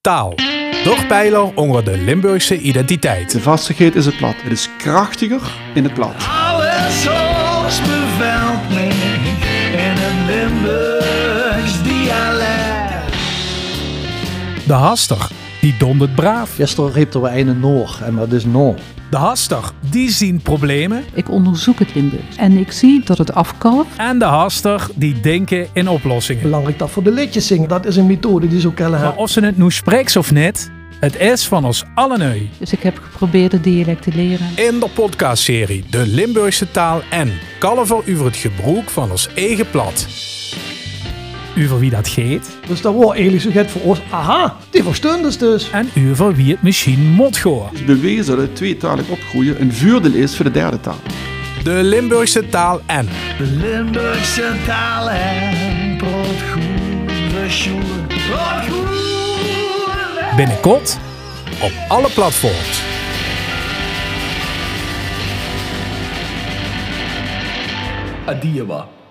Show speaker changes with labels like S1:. S1: Taal. Toch pijler onder de Limburgse identiteit.
S2: De vastigheid is het plat. Het is krachtiger in het plat.
S3: Alles ons bevuilt me in een Limburgs dialect.
S1: De haster, die dondert braaf.
S4: Gisteren riep er wel een Noor en dat is Noor.
S1: De haster, die zien problemen.
S5: Ik onderzoek het Limburgs en ik zie dat het afkalft.
S1: En de haster, die denken in oplossingen.
S6: Belangrijk dat voor de liedjes zingen, dat is een methode die ze ook kennen.
S1: Maar of ze het nu spreekt of niet, het is van ons allen uit.
S5: Dus ik heb geprobeerd het dialect te leren.
S1: In de podcastserie De Limburgse Taal en Kalver over het gebruik van ons eigen plat. Over wie dat geeft
S6: Dus dat wordt eigenlijk zo gek voor ons. Aha, die verstaan dus dus.
S1: en over wie het misschien mot goor.
S2: Het is Dus bewezen dat tweetalig opgroeien een vuurdeel is voor de derde taal.
S1: De Limburgse Taal en
S3: De Limburgse taal en broodgoede schoen. Broodgoede
S1: binnenkort op alle platforms.
S3: Adieu, man.